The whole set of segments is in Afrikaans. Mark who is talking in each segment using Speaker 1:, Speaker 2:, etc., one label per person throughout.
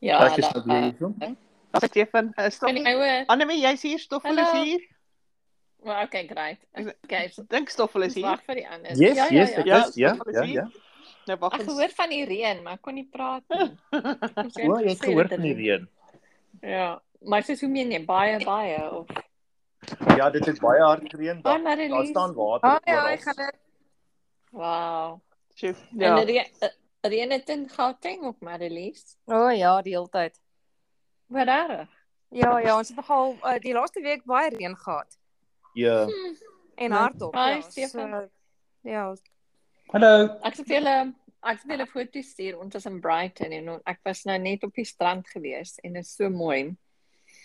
Speaker 1: Ja,
Speaker 2: ek is nou weer hier. so.
Speaker 3: Dag Stefan, is nog
Speaker 1: Kan
Speaker 3: nie.
Speaker 1: jy hoor?
Speaker 3: Annelie, jy's hier, Stoffel is
Speaker 1: Hallo.
Speaker 3: hier.
Speaker 1: Maar okay, great. Okay, so
Speaker 3: Dink Stoffel is
Speaker 1: dis
Speaker 3: hier.
Speaker 1: wag vir die ander.
Speaker 2: Yes,
Speaker 1: ja,
Speaker 2: yes,
Speaker 1: ja, ja.
Speaker 2: ek
Speaker 3: Ja,
Speaker 2: is. Ja,
Speaker 3: Stoffel is
Speaker 2: ja,
Speaker 3: hier.
Speaker 2: ja.
Speaker 3: Nou wag
Speaker 1: Ek
Speaker 3: ons.
Speaker 1: gehoor van die reën, maar ek kon nie praat nie. Ons
Speaker 2: O, jy het
Speaker 1: gesê
Speaker 2: gehoor
Speaker 1: dat
Speaker 2: van die
Speaker 1: dit-
Speaker 2: reën.
Speaker 1: Ja, maar sies hoe meen jy baie baie of
Speaker 2: Ja, dit het baie hard gereën.
Speaker 1: Hi
Speaker 2: Daar, daar staan
Speaker 1: Marilee.
Speaker 2: water
Speaker 4: Hi, hi,
Speaker 2: oral.
Speaker 4: hallo.
Speaker 1: Wow.
Speaker 3: Sjoe,
Speaker 1: Ja.
Speaker 3: Ja.
Speaker 1: En reën eh, reën dit in Gauteng ook Marilee.
Speaker 4: O oh, ja, die hele tyd.
Speaker 1: Wat daar?
Speaker 4: Ja, ja, ons het nogal uh, die laaste week baie reën gehad
Speaker 2: Ja.
Speaker 4: en
Speaker 3: Ja.
Speaker 4: hardop.
Speaker 1: Hi,
Speaker 4: ja,
Speaker 1: Stefan.
Speaker 4: So, ja,
Speaker 5: Hallo.
Speaker 1: Ek het vir julle ek het vir julle foto's stuur. Ons was in Brighton en on- ek was nou net op die strand gewees en dit is so mooi.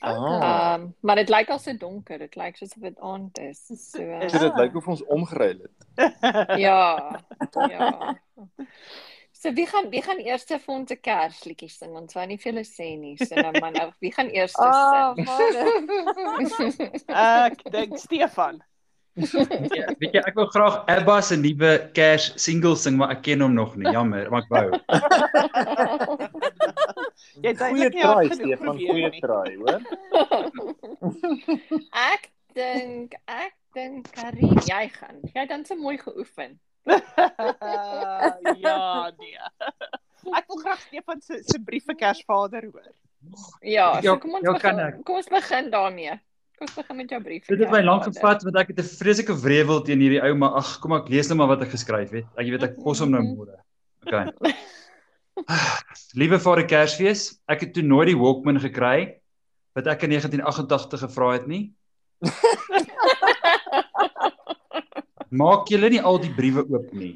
Speaker 2: Ah.
Speaker 1: Ehm um, maar dit lyk al so donker. Dit lyk soos of dit aand is. So eh,
Speaker 2: So dit lyk of ons omgeruil het.
Speaker 1: ja. Ja. So wie gaan wie gaan eers vir ons 'n kersliedjie sing? Ons wou nie vir julle sê nie. So nou man, nou, wie gaan eers
Speaker 4: Ah,
Speaker 1: sing?
Speaker 4: vader.
Speaker 3: Ek dink Stefan.
Speaker 5: Ja, weet jy, ek wou graag Abba se nuwe Kers single sing, maar ek ken hom nog nie, jammer, maar ek wou.
Speaker 3: Jy het
Speaker 2: Goeie
Speaker 3: eintlik nie hard
Speaker 2: try,
Speaker 3: genoeg
Speaker 2: Stefan,
Speaker 3: probeer
Speaker 2: goeie
Speaker 3: nie.
Speaker 2: try, hoor.
Speaker 1: ek dink ek dink Karin, jy gaan. Jy het dan so mooi geoefen.
Speaker 3: ja, nee. Ek wil graag Stefan se se brief vir Kersvader hoor.
Speaker 1: Ja, so
Speaker 5: Ja,
Speaker 1: kom ons
Speaker 5: ja, kan
Speaker 1: begin. Kom ons begin daarmee. Kom ons begin met jou brief.
Speaker 5: Dit het my lank
Speaker 1: Kersvader.
Speaker 5: gevat want ek het 'n vreeslike wrevel teen hierdie ou, maar ag, kom ek lees nou maar wat ek geskryf het. Ek jy weet ek pos hom nou môre. Okay. Liewe vir die Kersfees, ek het toe nooit die Walkman gekry wat ek in 1988 gevra het nie. Maak julle nie al die briewe oop nie.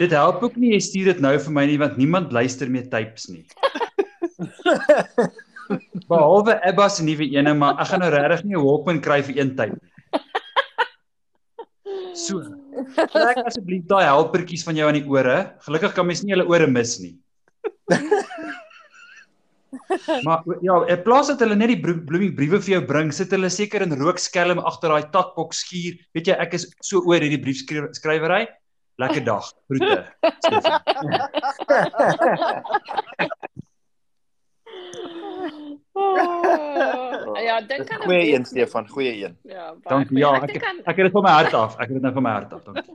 Speaker 5: Dit help ook nie jy stuur dit nou vir my nie want niemand luister meer tapes nie. Behalwe Abba se nuwe ene, maar ek gaan nou regtig nie 'n Walkman kry vir een tape. nie. So, trek asseblief daai helpertjies van jou aan die ore. Gelukkig kan mens nie hulle ore mis nie. maar o- ja, in plaas dat hulle net die broe- bloemie briewe vir jou bring, sit hulle seker in rookskelm agter daai takbok skuur. Weet jy, ek is so oor hierdie briefskrywery. Lekker dag. Groete. Stefan.
Speaker 1: Oh, ja,
Speaker 2: Dis
Speaker 1: dink aan 'n
Speaker 2: Goeie
Speaker 1: brief.
Speaker 2: een, Stefan, goeie een.
Speaker 1: Ja, baie
Speaker 5: Dankie.
Speaker 1: goeie.
Speaker 5: Ja,
Speaker 1: ek
Speaker 5: ek
Speaker 1: dink aan
Speaker 5: ek het dit van my hart af. Ek het dit nou van my hart af. Dankie.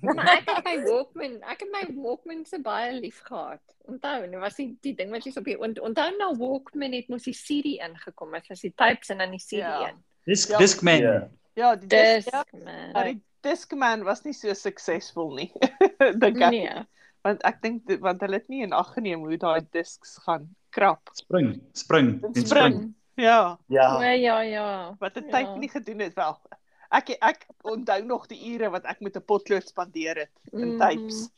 Speaker 1: maar ek het my Walkman, ek het my Walkman se baie lief gehad. Onthou, nou was die die ding wat jy's op die on- onthou nou Walkman het mos die CD ingekom, dit was die tapes en dan die CD
Speaker 3: Ja.
Speaker 1: een.
Speaker 5: Dis
Speaker 3: Ja.
Speaker 5: Discman.
Speaker 2: Ja.
Speaker 3: Ja, die
Speaker 1: Dis Nee.
Speaker 3: dis ja, maar
Speaker 1: man.
Speaker 3: die Discman was nie so suksesvol nie. dink ek, nee.
Speaker 1: Nee.
Speaker 3: want ek dink dit- want hulle het nie in ag geneem hoe daai discs gaan krap.
Speaker 5: Spring, spring,
Speaker 3: Dit
Speaker 5: en
Speaker 3: spring.
Speaker 5: spring.
Speaker 3: Ja,
Speaker 1: O
Speaker 2: Ja.
Speaker 1: ja ja.
Speaker 3: wat 'n
Speaker 1: Ja.
Speaker 3: tyd nie gedoen het wel. Ek ek onthou nog die ure wat ek met 'n potlood spandeer het in
Speaker 1: Mhm.
Speaker 3: tapes.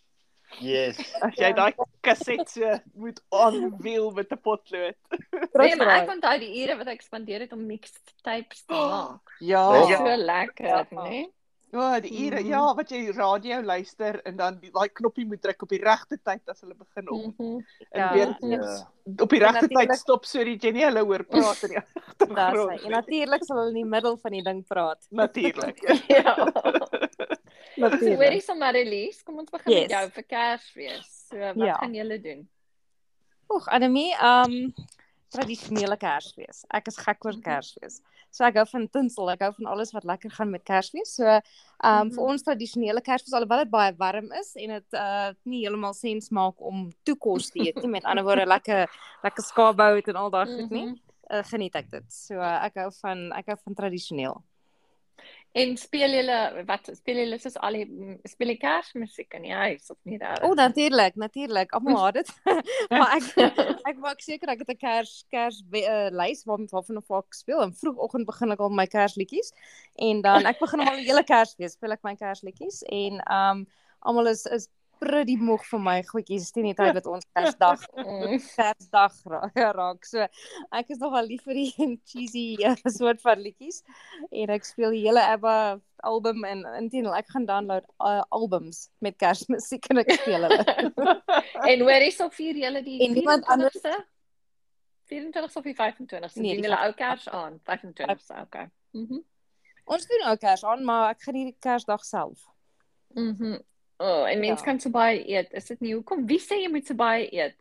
Speaker 2: Yes.
Speaker 3: As
Speaker 4: Ja.
Speaker 3: jy daai ja, kassette so moet aanwiel met 'n potlood.
Speaker 1: Nee, maar
Speaker 4: Terugdraai.
Speaker 1: ek onthou die ure wat ek spandeer het om mixed tapes te maak.
Speaker 3: Ja.
Speaker 1: Oh,
Speaker 2: Oh,
Speaker 1: ja.
Speaker 2: ja.
Speaker 1: So lekker,
Speaker 4: Ja.
Speaker 1: né? Nee?
Speaker 3: O, oh, die ure.
Speaker 1: Mhm.
Speaker 3: Ja, wat jy radio luister en dan die daai knoppie moet druk op die regte tyd as hulle begin om.
Speaker 1: Mhm.
Speaker 3: En
Speaker 4: Ja.
Speaker 3: weer
Speaker 2: Ja.
Speaker 3: op die regte tyd
Speaker 4: natuurlik-
Speaker 3: stop sodat jy nie hulle hoor praat in die
Speaker 4: Daar's hy. En
Speaker 3: agtergrond.
Speaker 4: natuurlik sal hulle in die middel van die ding praat.
Speaker 3: Natuurlik.
Speaker 1: Ja. So
Speaker 4: Natuurlik.
Speaker 1: hoorie sommer Elise, kom ons begin yes. met
Speaker 4: Yes.
Speaker 1: jou vir Kersfees. So wat ja.
Speaker 4: Ja.
Speaker 1: gaan julle doen?
Speaker 4: Oeg, Anemie, um tradisionele Kersfees. Ek is gek
Speaker 1: Mhm.
Speaker 4: oor Kersfees. So ek hou van tinsel, ek hou van alles wat lekker gaan met Kersfees. So um
Speaker 1: Mhm.
Speaker 4: vir ons tradisionele Kersfees alhoewel dit baie warm is en dit uh nie heeltemal sin maak om toekos te eet nie. Met ander woorde lekker lekker skaapbout en al daai goed nie.
Speaker 1: Mhm.
Speaker 4: Uh, geniet ek dit. So uh, ek hou van ek hou van tradisioneel.
Speaker 1: En speel julle wat speel julle soos al die mm, speel die Kersmusiek in die huis of nie daar?
Speaker 4: O, oh, natuurlik, natuurlik. Almal haat dit. maar ek ek maak seker ek het 'n kers kers we- eh, lys waar waarvan of waar ek speel en vroegoggend begin ek al my kersliedjies en dan ek begin hom al die hele kersfees speel ek my kersliedjies en um almal is is pretty moeg vir my goedjies teen die tyd wat ons Kersdag
Speaker 1: Mm.
Speaker 4: Kersdag ra- raak. So ek is nogal lief vir die cheesy eh, soort van liedjies en ek speel die hele ABBA album en intendeel ek gaan download uh, albums met kersmusiek en ek speel hulle.
Speaker 1: en hoorie so vier julle die
Speaker 4: En niemand anders-
Speaker 1: 24ste? 24ste of die 25ste?
Speaker 4: Nee,
Speaker 1: Nee,
Speaker 4: die
Speaker 1: doen julle ou Kers aan 25ste, okay. Mhm.
Speaker 4: Ons doen ook kers aan, maar ek geniet die Kersdag self.
Speaker 1: Mhm. O, en mens ja.
Speaker 4: Ja.
Speaker 1: kan so baie eet. Is dit nie hoekom? Wie sê jy moet so baie eet?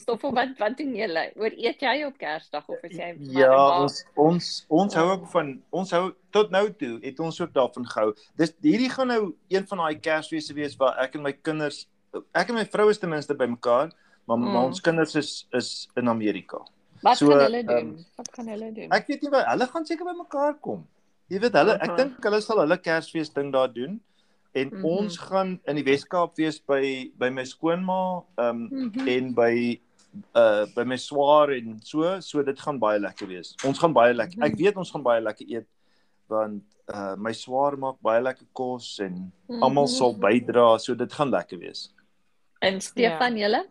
Speaker 1: Stoffel, wat wat doen julle? Oor eet jy op Kersdag of is jy
Speaker 2: Ja, ons ons ons hou ook van ons hou tot nou toe het ons ook daarvan gehou. Dis hierdie gaan nou een van daai Kersfeeste wees waar ek en my kinders ek en my vrou is ten minste bymekaar, maar, mm. maar
Speaker 1: Mm.
Speaker 2: ons kinders is is in Amerika.
Speaker 1: wat
Speaker 2: so,
Speaker 1: so, gaan hulle
Speaker 2: ehm,
Speaker 1: doen? Um, wat gaan hulle doen?
Speaker 2: Ek weet nie wat hulle gaan seker bymekaar kom. Jy weet hulle ek
Speaker 3: Mhm.
Speaker 2: dink hulle sal hulle Kersfees ding daar doen en mm
Speaker 1: Mhm.
Speaker 2: -hmm. ons gaan in die Wes-Kaap wees by by my skoonma um,
Speaker 1: Mm -hmm.
Speaker 2: en by uh by my swaar en so so dit gaan baie lekker wees. Ons gaan baie lekker. Ek weet ons gaan baie lekker eet want uh my swaar maak baie lekker kos en almal sal bydra so dit gaan lekker wees.
Speaker 1: mhm, En Stefan,
Speaker 4: Ja.
Speaker 1: julle?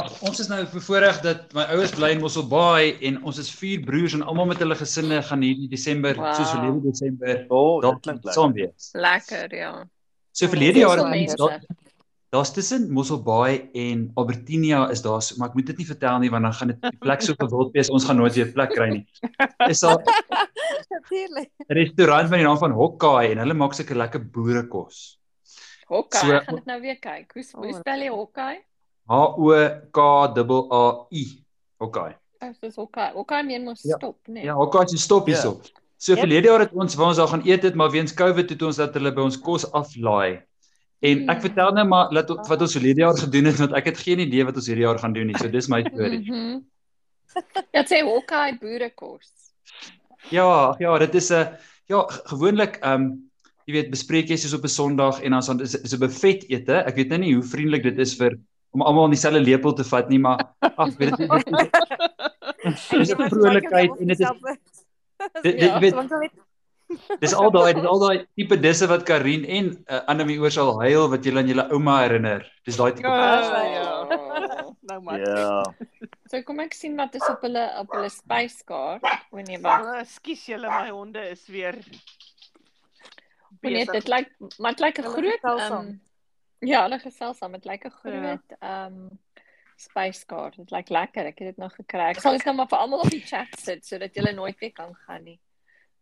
Speaker 5: Ag, ons is nou bevoorreg dat my ouers bly in Mosselbaai en ons is vier broers en almal met hulle gesinne gaan hierdie Desember, wow.
Speaker 1: Wow.
Speaker 5: soos verlede Desember,
Speaker 2: O, oh,
Speaker 5: dalk
Speaker 2: dit klink lekker.
Speaker 5: saam wees.
Speaker 1: Lekker, ja.
Speaker 5: So verlede
Speaker 1: Dis
Speaker 5: jaar
Speaker 1: al
Speaker 5: het
Speaker 1: mense.
Speaker 5: ons daar daar's tussen Mosselbaai en Albertinia is daar, so- maar ek moet dit nie vertel nie want dan gaan dit die plek so gewild wees, ons gaan nooit weer 'n plek kry nie. Is daar 'n
Speaker 4: Natuurlik.
Speaker 5: restaurant met die naam van Hokkaai en hulle maak seker lekker boerekos.
Speaker 1: Hokkie,
Speaker 5: So-
Speaker 1: so, gaan dit nou weer kyk. Hoe hoe spel jy hokkie?
Speaker 5: H O K A A I. Hokkaai.
Speaker 1: Dit is hokkie. Hokkie meen mos
Speaker 5: Ja.
Speaker 1: stop, né?
Speaker 5: Ja, Hokkaai se stop
Speaker 2: Ja.
Speaker 5: hierop. So
Speaker 4: Yep.
Speaker 5: verlede jaar het ons waar ons daar gaan eet het, maar weens COVID het ons dat hulle by ons kos aflaai. En ek
Speaker 1: Hmm.
Speaker 5: vertel nou maar dat wat ons verlede jaar gedoen het want ek het geen idee wat ons hierdie jaar gaan doen nie. So dis my storie.
Speaker 1: Mhm. Ja, sê hokkie boerekos.
Speaker 5: Ja, ag ja, dit is 'n ja, g- gewoonlik ehm um, jy weet bespreek jy soos op 'n Sondag en dan is dan is is 'n buffet ete. Ek weet nou nie hoe vriendelik dit is vir om almal in dieselfde lepel te vat nie, maar ag weet dit dit- dit- Dis 'n vrolikheid en dit is dit- dit-
Speaker 1: Ja,
Speaker 5: jy weet
Speaker 4: want hulle
Speaker 5: Dis al daai dis al daai tipe disse wat Karin en uh, Annelie oor sal huil wat julle aan julle ouma herinner. Dis daai tipe.
Speaker 3: Ja.
Speaker 5: Ja.
Speaker 3: Ah, Nou maar.
Speaker 2: Ja.
Speaker 1: So kom ek sien wat is op hulle op hulle spyskaart. O nee, wag.
Speaker 3: Ah, Ekskuus julle, my honde is weer
Speaker 1: O nee, dit
Speaker 3: besig.
Speaker 1: lyk maar dit lyk 'n
Speaker 4: Hulle
Speaker 1: groot
Speaker 4: gesels
Speaker 1: ehm
Speaker 4: saam.
Speaker 1: ja, hulle gesels saam. Dit lyk 'n
Speaker 3: Ja.
Speaker 1: groot ehm spyskaart. Dit lyk lekker. Ek het dit nog gekry. Ek sal dit nou maar vir almal op die chat sit sodat julle nooit weer kan gaan nie.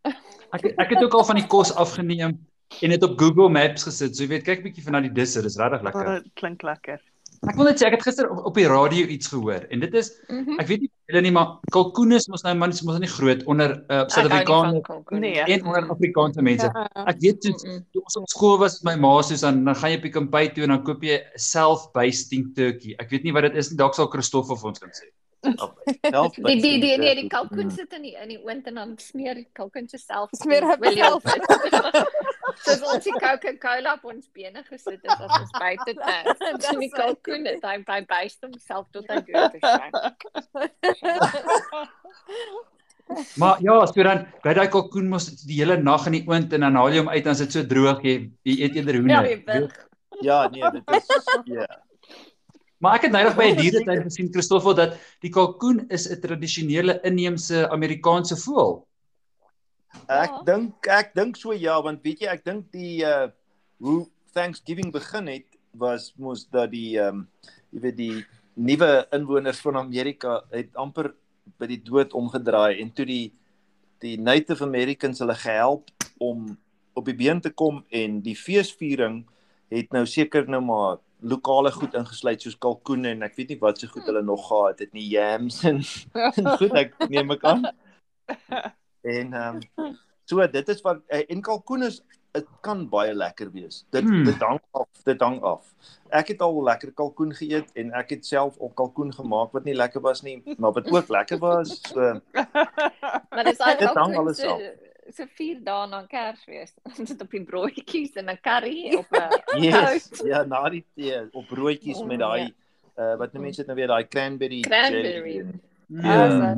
Speaker 5: Ek ek het ook al van die kos afgeneem en dit op Google Maps gesit. So jy weet, kyk bietjie van na die disse, dis regtig lekker.
Speaker 3: Dit klink lekker.
Speaker 5: Ek wil net sê ek het gister op, op die radio iets gehoor en dit is
Speaker 1: Mhm.
Speaker 5: ek weet nie of julle nie maar kalkoen is mos nou man is mos nie groot onder uh,
Speaker 1: Ja, Ek hou nie van Ja.
Speaker 5: Suid-Afrikaners
Speaker 1: kalkoen nie.
Speaker 3: Nee.
Speaker 5: en onder Afrikaanse mense.
Speaker 4: Ja.
Speaker 5: Ek weet toe,
Speaker 1: Mm-mm.
Speaker 5: toe ons op skool was met my ma soos dan dan gaan jy op die kampai toe en dan koop jy self by stink turkey. Ek weet nie wat dit is nie, dalk sal Christoffel vir ons kan sê.
Speaker 2: Help my.
Speaker 1: Die die die nee, die
Speaker 2: Hmm.
Speaker 1: kalkoen sit in die in die oond en dan smeer die kalkoen self.
Speaker 4: Smeer hy self.
Speaker 1: Soos ons die Coca-Cola op ons bene gesit het as ons buite tans.
Speaker 4: Dis
Speaker 1: En die
Speaker 4: hy.
Speaker 1: kalkoen het hy by byst homself tot hy dood is.
Speaker 5: Maar ja, so dan bly daai kalkoen mos die hele nag in die oond en dan haal jy hom uit en as dit so droog jy jy eet eerder
Speaker 1: Ja,
Speaker 5: hoender.
Speaker 1: jy wil.
Speaker 2: Ja, nee, dit is ja.
Speaker 5: maar ek het nou nog by 'n
Speaker 1: Oh,
Speaker 5: dieretuin gesien Christoffel dat die kalkoen is 'n tradisionele inheemse Amerikaanse voël.
Speaker 2: Ek
Speaker 1: Ja.
Speaker 2: dink ek dink so ja, want weet jy, ek dink die uh hoe Thanksgiving begin het was mos dat die ehm um, jy weet die nuwe inwoners van Amerika het amper by die dood omgedraai en toe die die Native Americans hulle gehelp om op die been te kom en die feesviering het nou seker nou maar lokale goed ingesluit soos kalkoene en ek weet nie wat se goed hulle nog gehad het nie yams en, en goed ek neem ek aan En ehm um, so dit is wat eh, en kalkoen is dit kan baie lekker wees. Dit
Speaker 5: Hmm.
Speaker 2: hmm. dit hang af, dit hang af. Ek het al lekker kalkoen geëet en ek het self ook kalkoen gemaak wat nie lekker was nie, maar wat ook lekker was. So
Speaker 1: Maar dis al
Speaker 2: Dit hang
Speaker 1: kalkoen
Speaker 2: alles af.
Speaker 1: so so vier dae na Kersfees. Ons sit op die broodjies en 'n curry op 'n
Speaker 2: yes, ja, na die tee op broodjies
Speaker 1: Nou. Oh,
Speaker 2: met daai uh, wat nou mense dit nou weer daai cranberry
Speaker 1: Cranberry.
Speaker 2: jelly.
Speaker 5: Ja.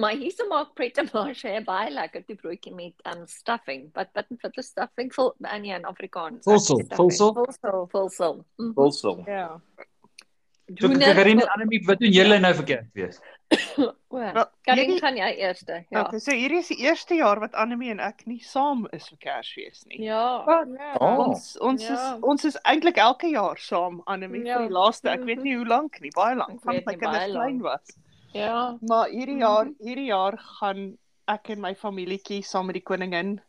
Speaker 1: maar hierse maak pret marshe baie lekker die broodjie met um stuffing. Wat wat wat is stuffing vol in in Afrikaans?
Speaker 5: Volsel, volsel.
Speaker 4: Volsel.
Speaker 1: Volsel. Mhm.
Speaker 2: Wilsel.
Speaker 4: Ja.
Speaker 5: So Karin en Annelie, wat doen julle nou vir Kersfees?
Speaker 1: Oor.
Speaker 3: Wel,
Speaker 1: Karin
Speaker 3: Nou, hierdie-
Speaker 1: gaan jy eers. Ja.
Speaker 3: Okay, so hier is die eerste jaar wat Annelie en ek nie saam is vir Kersfees nie.
Speaker 1: Ja.
Speaker 4: Oh, nee.
Speaker 2: Oh.
Speaker 3: Ons ons ja.
Speaker 1: Ja.
Speaker 3: is ons is eintlik elke jaar saam Annelie ja.
Speaker 1: Ja.
Speaker 3: vir die laaste, ek weet nie hoe lank nie, baie lank,
Speaker 1: Ek
Speaker 3: want
Speaker 1: weet
Speaker 3: my
Speaker 1: nie,
Speaker 3: kinders
Speaker 1: baie
Speaker 3: klein
Speaker 1: lank. Mhm.
Speaker 3: was.
Speaker 1: Ja.
Speaker 3: Maar hierdie jaar, hierdie jaar gaan ek en my familietjie saam met die koningin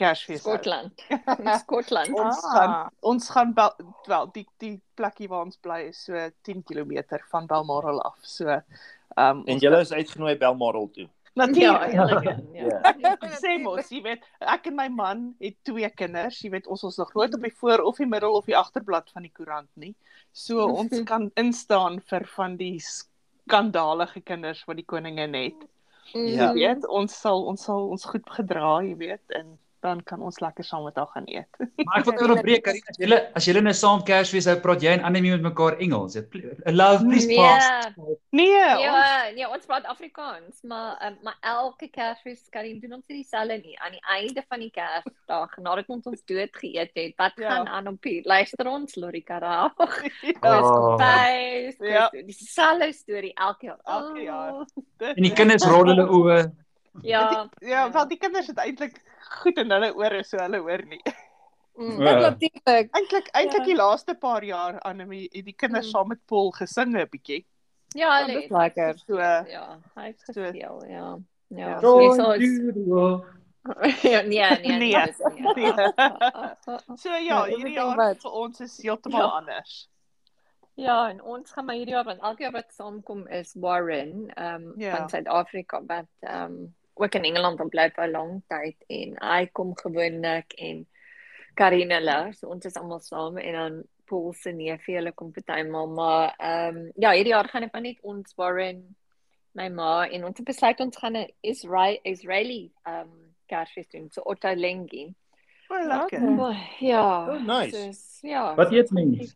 Speaker 3: Kersfees. hou.
Speaker 1: Skotland. In Skotland.
Speaker 3: Ons gaan ons gaan wel, wel die die plekkie waar ons bly is so 10 km van Balmoral af. So ehm um,
Speaker 2: En julle is uitgenooi Belmarel toe.
Speaker 3: ja, ja.
Speaker 1: ja. ja.
Speaker 3: Ek sê mos, jy weet, ek en my man het twee kinders, jy weet, ons ons nog nooit op die voor of die middel of die agterblad van die koerant nie. So ons kan instaan vir van die skandalige kinders wat die koningin het.
Speaker 2: Ja.
Speaker 1: Mm.
Speaker 3: Jy weet, ons sal ons sal ons goed gedra, jy weet, en dan kan ons lekker saam met haar gaan eet.
Speaker 5: Maar ek wil onderbreek Karina, as julle as julle nou saam Kersfees hou, praat jy en Annelie met mekaar Engels. Dit love please pass.
Speaker 1: Nee,
Speaker 3: Nee, ons,
Speaker 1: ja, nee, ons praat Afrikaans, maar um, maar elke Kersfees kan jy doen ons nie dieselfde nie. Aan die einde van die Kersdag, nadat ons ons dood geëet het, wat
Speaker 3: Ja.
Speaker 1: ja. gaan aan op hier? Luister ons Lori Karag.
Speaker 3: ja,
Speaker 1: Ah.
Speaker 5: Oh.
Speaker 1: Dis
Speaker 3: Ja.
Speaker 1: dis dieselfde storie elke jaar.
Speaker 3: Elke jaar.
Speaker 1: Oh,
Speaker 5: En die kinders rol hulle oë.
Speaker 1: Ja.
Speaker 3: Ja, wel die kinders het eintlik goed in hulle ore so hulle hoor nie.
Speaker 1: Mm.
Speaker 5: Ja.
Speaker 4: Natuurlik.
Speaker 3: Eintlik eintlik
Speaker 1: Ja.
Speaker 3: die laaste paar jaar Annelie het die kinders
Speaker 1: Mm.
Speaker 3: saam met Paul gesing 'n bietjie.
Speaker 1: Ja,
Speaker 4: Dit
Speaker 1: hulle
Speaker 4: is
Speaker 1: het
Speaker 4: lekker.
Speaker 3: So
Speaker 1: Ja, hy het
Speaker 3: So-
Speaker 1: gespeel, ja. Ja,
Speaker 3: Ja.
Speaker 1: so
Speaker 5: Joy
Speaker 1: is ons.
Speaker 5: to the world.
Speaker 1: Ja, nee, nee,
Speaker 3: Nee.
Speaker 1: nee. dis nie.
Speaker 3: Nee.
Speaker 1: Ah, ah, ah, ah.
Speaker 3: so ja,
Speaker 4: Ja,
Speaker 3: hierdie
Speaker 4: everything
Speaker 3: jaar
Speaker 4: wat-
Speaker 3: vir ons is heeltemal
Speaker 1: Ja.
Speaker 3: anders.
Speaker 1: Ja, en ons gaan maar hierdie jaar want elke jaar wat saamkom is Warren, ehm um,
Speaker 3: Ja.
Speaker 1: van Suid-Afrika wat ehm um, ook in Engeland dan bly vir 'n lang tyd en hy kom gewoonlik en Karina hulle, so ons is almal saam en dan Paul se neefie hulle kom partymal, maar ehm um, ja, hierdie jaar gaan dit maar net ons Warren, my ma en ons het besluit ons gaan 'n Israel Israeli ehm um, Kersfees doen, so Otto Lengi.
Speaker 3: Baie
Speaker 4: Ja,
Speaker 3: lekker.
Speaker 4: ja.
Speaker 1: Ja.
Speaker 2: Oh, nice.
Speaker 1: Soos, ja.
Speaker 5: Wat eet mens?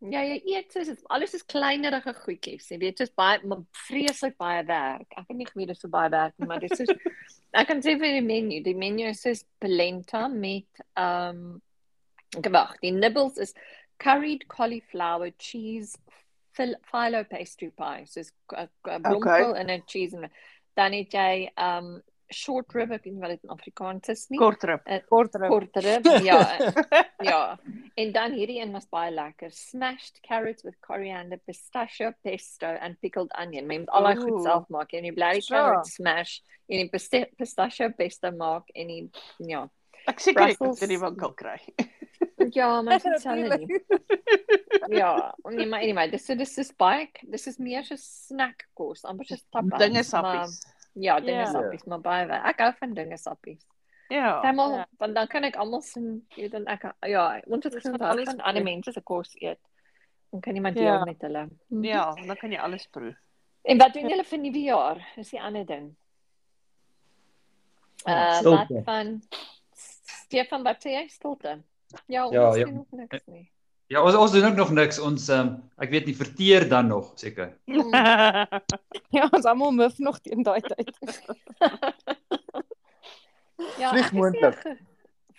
Speaker 1: Ja, jy eet soos dit- alles is kleinerige goedjies. Jy weet, soos baie maar vreeslik baie werk. Ek het nie geweet dit so baie werk nie, maar dit is soos ek kan sê vir die menu, die menu is soos polenta met ehm um, gewag. Die nibbles is curried cauliflower cheese fil- filo pastry pie. So is uh, uh, bloemkool okay. en 'n cheese en dan het jy ehm um, short rib, ek weet nie wat dit in Afrikaans is nie.
Speaker 3: Kortrip.
Speaker 4: Korter.
Speaker 1: Kort rib, ja. ja. En dan hierdie een was baie lekker. Smashed carrots with coriander, pistachio pesto and pickled onion. Mens moet al daai goed
Speaker 3: Ooh.
Speaker 1: self maak en jy bly die
Speaker 4: Sure.
Speaker 1: carrot smash en die piste- pistachio pesto maak en die ja.
Speaker 3: Ek seker ek
Speaker 1: Brussels.
Speaker 3: moet dit in die winkel kry.
Speaker 1: Ja, maar dit sal nie. Ja, nee, maar anyway, dis so dis is baie dis is meer so snack kos, amper so tapas.
Speaker 3: Dinge
Speaker 1: maar-
Speaker 3: sappies.
Speaker 1: Ja, dinge
Speaker 4: Ja.
Speaker 1: yeah. sappies, maar baie wel. Ek hou van dinge sappies.
Speaker 5: Oh.
Speaker 3: Ja.
Speaker 1: Almal,
Speaker 4: ja.
Speaker 1: want dan kan ek almal sien, jy weet, dan ek ja, ons het
Speaker 4: Dis
Speaker 1: gesien
Speaker 4: van
Speaker 1: daar
Speaker 4: alles
Speaker 1: kan
Speaker 4: proe.
Speaker 1: ander mense se kos eet. Dan kan iemand
Speaker 4: Ja.
Speaker 1: deel met hulle. Mhm.
Speaker 3: Ja, dan kan jy alles proe.
Speaker 1: En wat doen julle vir nuwe jaar? Is die ander ding. Uh
Speaker 5: Ja, stilte.
Speaker 1: wat van Stefan wat sê jy stilte? Ja,
Speaker 5: Ja,
Speaker 1: ons
Speaker 5: ja.
Speaker 1: doen ook niks nie.
Speaker 5: Ja, ons ons doen ook nog niks. Ons ehm um, ek weet nie verteer dan nog seker.
Speaker 1: Mm.
Speaker 4: Ja, ons almal muf nog teen daai tyd.
Speaker 1: Ja,
Speaker 2: Vlieg
Speaker 1: ek is nie
Speaker 2: moontlik.
Speaker 1: ge-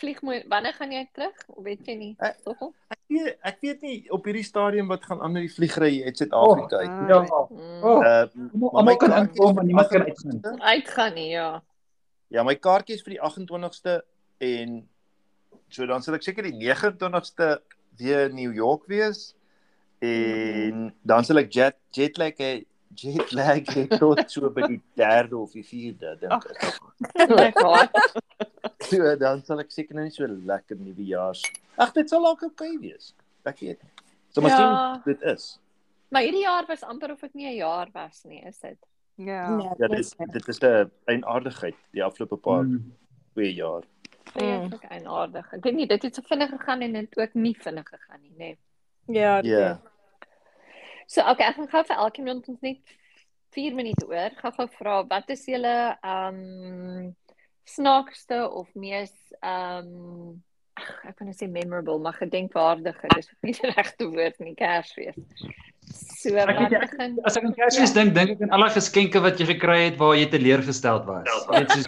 Speaker 1: Vlieg moontlik. Wanneer gaan jy terug? Of weet jy nie?
Speaker 2: Ek-
Speaker 1: Stoffel?
Speaker 2: Ek weet ek weet nie op hierdie stadium wat gaan aan met die vliegry uit Suid-Afrika uit.
Speaker 3: Ah,
Speaker 5: Ja.
Speaker 1: Mm.
Speaker 5: Oh,
Speaker 2: Uh
Speaker 5: almal-
Speaker 2: maar my
Speaker 5: almal kan
Speaker 2: kaartjie is
Speaker 5: inkom,
Speaker 2: vir
Speaker 5: maar
Speaker 2: die
Speaker 5: niemand kan
Speaker 2: 28ste.
Speaker 5: uitgaan. Hmm.
Speaker 1: Uitgaan nie, ja.
Speaker 2: Ja, my kaartjie is vir die 28ste en so dan sal ek seker die 29ste weer in New York wees en dan sal ek jet jetlag hê jetlag hê tot so by die 3de of die 4de dink ek.
Speaker 1: Ek haat.
Speaker 2: So dan sal ek seker nou nie so lekker nuwejaars. Ag dit sal ook oukei okay wees. Ek weet. nie. So maar sien
Speaker 1: Ja.
Speaker 2: dit is.
Speaker 1: Maar hierdie jaar was amper of dit nie 'n jaar was nie, is dit?
Speaker 3: Ja.
Speaker 2: Ja, dit dit is 'n eienaardigheid die afgelope paar
Speaker 5: Mm.
Speaker 2: 2 hmm. jaar.
Speaker 1: Vreeslik eienaardig. Ek weet nie, dit het so vinnig gegaan en dit ook nie vinnig gegaan nie, nê. Nee.
Speaker 4: Ja.
Speaker 2: Ja. Yeah.
Speaker 1: So okay, ek gaan gou vir elkeen van ons net 4 minute oor. Gaan gou vra wat is julle ehm um, snaakste of mees ehm um, ek kan nou sê memorable, maar gedenkwaardige. Dis ook nie die regte woord nie, Kersfees. So
Speaker 5: Ek
Speaker 1: wat
Speaker 5: het-
Speaker 1: begin
Speaker 5: As ek aan Kersfees dink, dink ek aan alle geskenke wat jy gekry het waar jy teleurgesteld was. Net soos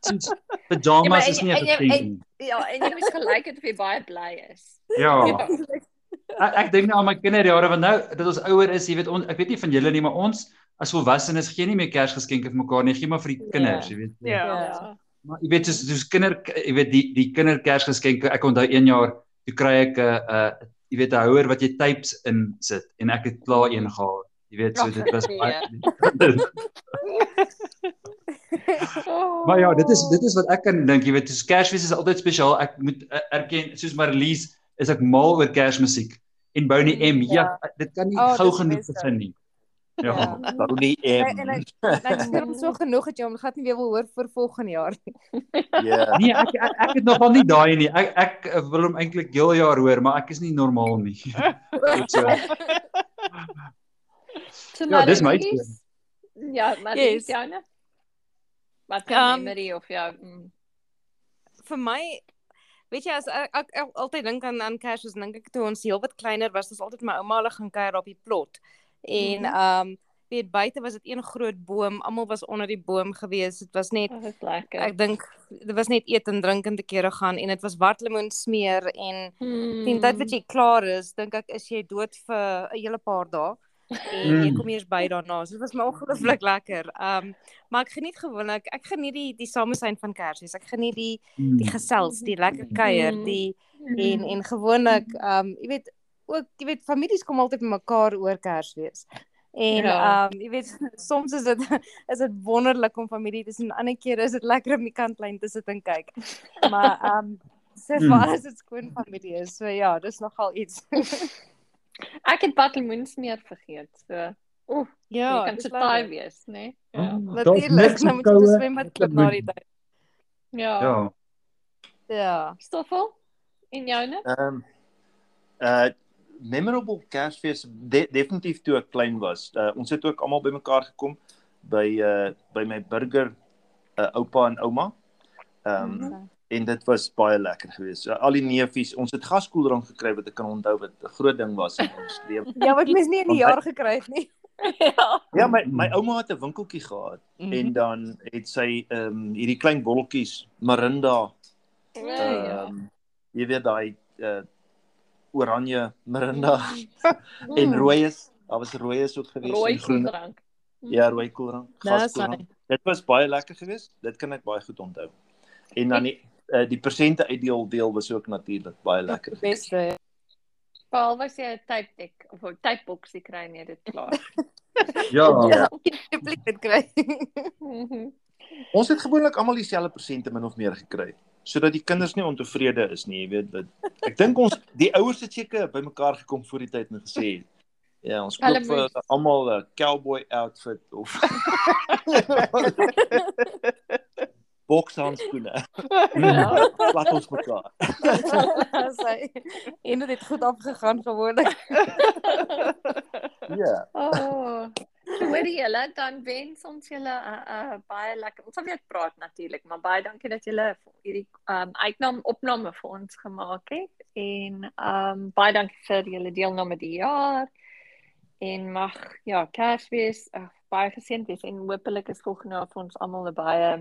Speaker 5: soos
Speaker 1: Ja, maar
Speaker 5: pyjamas
Speaker 1: en-
Speaker 5: is nie 'n
Speaker 1: en jy-
Speaker 5: geskenk
Speaker 1: en-
Speaker 5: nie.
Speaker 1: Ja, en jy moet gelyk het of jy baie bly is.
Speaker 5: Ja. Ek, ek dink nou aan my kinderjare want nou dat ons ouer is, jy weet ons ek weet nie van julle nie, maar ons as volwassenes gee nie meer Kersgeskenke vir mekaar nie, gee maar vir die kinders, jy weet.
Speaker 3: Ja.
Speaker 4: Ja.
Speaker 5: Maar jy weet soos soos kinder jy weet die die kinderkersgeskenke, ek onthou een jaar toe kry ek 'n uh, 'n jy weet 'n houer wat jy types insit en ek het klaar een gehad. Jy weet so dit was baie
Speaker 1: Oh.
Speaker 5: Maar ja, dit is dit is wat ek kan dink, jy weet, soos Kersfees is altyd spesiaal. Ek moet eh, erken, soos Marlies, is ek mal oor Kersmusiek en Boney M. Ja, dit kan nie
Speaker 4: Oh,
Speaker 5: gou
Speaker 4: dis die
Speaker 5: genoeg
Speaker 4: beste.
Speaker 5: begin nie. Ja.
Speaker 4: Ja.
Speaker 2: Bonnie
Speaker 4: En- en
Speaker 2: M.
Speaker 4: ek ek steur hom so genoeg dat jy hom glad nie weer wil hoor vir volgende jaar nie.
Speaker 2: Ja.
Speaker 5: Nee, ek ek, ek het nogal nie daai nie. Ek ek eh, wil hom eintlik heel jaar hoor, maar ek is nie normaal nie. Dit so.
Speaker 1: So,
Speaker 5: Ja, dis my
Speaker 1: Marlies? Ja, maar
Speaker 4: Yes.
Speaker 1: dis joune. Wat kan
Speaker 4: Um,
Speaker 1: memory of jou? mm.
Speaker 4: vir my weet jy as ek, ek, ek altyd dink aan aan Kersfees dink ek toe ons heelwat kleiner was, was altyd my ouma hulle gaan kuier op die plot. En ehm um, weet buite was dit een groot boom, almal was onder die boom gewees. Dit was net
Speaker 1: Oh, Dit is lekker.
Speaker 4: ek dink dit was net eet en drink en te kere gaan en dit was watlemoen smeer en
Speaker 1: Hmm.
Speaker 4: teen tyd
Speaker 1: Mhm.
Speaker 4: wat jy klaar is, dink ek is jy dood vir 'n hele paar dae en jy
Speaker 5: Mm.
Speaker 4: kom eers by daarna. So dit was my ongelooflik lekker. Ehm um, maar ek geniet gewoonlik, ek geniet die die samesyn van Kersfees. Ek geniet die die
Speaker 5: Hmm.
Speaker 4: gesels, die lekker kuier,
Speaker 1: Mm.
Speaker 4: die en en gewoonlik ehm um, jy weet ook jy weet families kom altyd mekaar oor Kersfees. En ehm
Speaker 1: Ja.
Speaker 4: um, jy weet soms is dit is dit wonderlik om familie te sien. Ander kere is dit lekker om die kantlyn te sit en kyk. Maar ehm um, sê vir
Speaker 5: Mm.
Speaker 4: as dit skoon familie is. So ja, dis nogal iets.
Speaker 1: Ek het buttermilksmeer vergeet. So, oef, jy
Speaker 4: ja,
Speaker 1: kan so taai wees, né? Ja.
Speaker 5: Daar's niks
Speaker 4: nou
Speaker 5: om
Speaker 4: moet jy
Speaker 5: koue
Speaker 4: swem met
Speaker 5: te
Speaker 4: klip na die
Speaker 5: doen.
Speaker 4: tyd.
Speaker 1: Ja.
Speaker 5: Ja.
Speaker 4: Ja.
Speaker 1: Stoffel? En joune?
Speaker 2: Ehm um, uh memorable Kersfees de definitief toe ek klein was. Uh, ons het ook almal bymekaar gekom by uh by my burger uh oupa en ouma. Ehm
Speaker 4: Mhm.
Speaker 2: um, en dit was baie lekker geweest. Uh, al die neefies, ons het gaskoeldrank gekry wat ek kan onthou wat 'n groot ding was in ons lewe.
Speaker 4: Ja, wat mens nie in die jaar gekry het nie.
Speaker 1: Ja.
Speaker 2: Ja, my my ouma het 'n winkeltjie gehad mm
Speaker 3: Mhm.
Speaker 2: -hmm. en dan het sy ehm um, hierdie klein botteltjies Mirinda
Speaker 1: Ja.
Speaker 2: ehm um, jy weet daai uh oranje Mirinda en rooies, daar was rooies ook geweest
Speaker 1: Ja. Mm. rooi
Speaker 2: en groen.
Speaker 1: koeldrank.
Speaker 2: Ja, rooi koeldrank,
Speaker 4: Dis
Speaker 2: gaskoeldrank. Dit was baie lekker geweest. Dit kan ek baie goed onthou. En dan die uh, die persente uitdeel deel was ook natuurlik baie lekker.
Speaker 4: die beste.
Speaker 1: Paul was jy 'n tape deck of 'n tape boksie kry en jy het dit klaar.
Speaker 5: Ja.
Speaker 2: Ja.
Speaker 4: Dupliek dit kry.
Speaker 1: Mhm.
Speaker 2: Ons het gewoonlik almal dieselfde persente min of meer gekry sodat die kinders nie ontevrede is nie, jy weet dat ek dink ons die ouers het seker bymekaar gekom voor die tyd en gesê ja, ons
Speaker 1: Hulle
Speaker 2: koop vir
Speaker 1: moet.
Speaker 2: almal 'n cowboy outfit of bokshandskoene.
Speaker 5: Mm.
Speaker 1: Ja.
Speaker 2: Laat ons mekaar.
Speaker 4: Sy en dit het goed afgegaan gewoonlik.
Speaker 2: Ja.
Speaker 1: Oh. So hoor julle, dan wens ons julle 'n uh, uh, baie lekker. Ons sal weer praat natuurlik, maar baie dankie dat julle hierdie um uitname opname vir ons gemaak het en um baie dankie vir julle deelname die jaar. En mag ja, Kersfees uh, baie geseënd wees en hopelik is volgende jaar vir ons almal 'n baie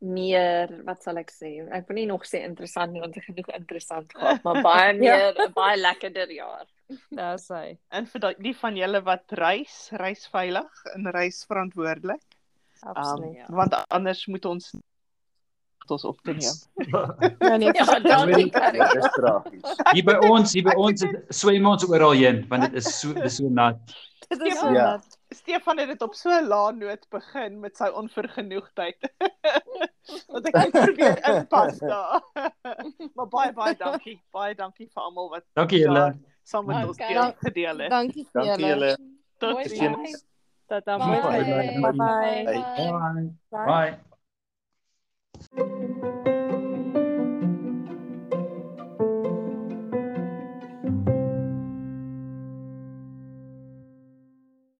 Speaker 1: meer, wat sal ek sê? Ek wil nie nog sê interessant nie want ek het genoeg interessant gehad, maar baie meer, 'n baie lekkerder jaar.
Speaker 4: Daar sy.
Speaker 3: En vir die- die van julle wat reis, reis veilig en reis verantwoordelik. Um,
Speaker 4: Absoluut.
Speaker 1: ja.
Speaker 3: want anders moet ons ons op te neem.
Speaker 4: Ja, nee,
Speaker 1: Ja, dankie Karin.
Speaker 2: Ja, dis tragies.
Speaker 5: Hier by ons, hier by ons het- swem ons oral heen want dit is so dis so nat.
Speaker 4: dit is so
Speaker 2: Ja.
Speaker 4: nat.
Speaker 3: Stefan het dit op so 'n lae noot begin met sy onvergenoegdheid. Want ek het probeer inpas daar. maar baie baie dankie. Baie dankie vir almal wat
Speaker 5: Dankie julle.
Speaker 3: daar saam met ons
Speaker 1: Okay.
Speaker 3: deel gedeel het.
Speaker 4: Dankie vir
Speaker 1: Ja,
Speaker 2: Dankie
Speaker 1: nee.
Speaker 2: julle.
Speaker 3: Tot
Speaker 1: Mooi
Speaker 3: sien.
Speaker 1: bly.
Speaker 4: Tot dan.
Speaker 1: Bye.
Speaker 4: Bye bye.
Speaker 2: Bye.
Speaker 5: Bye. Bye.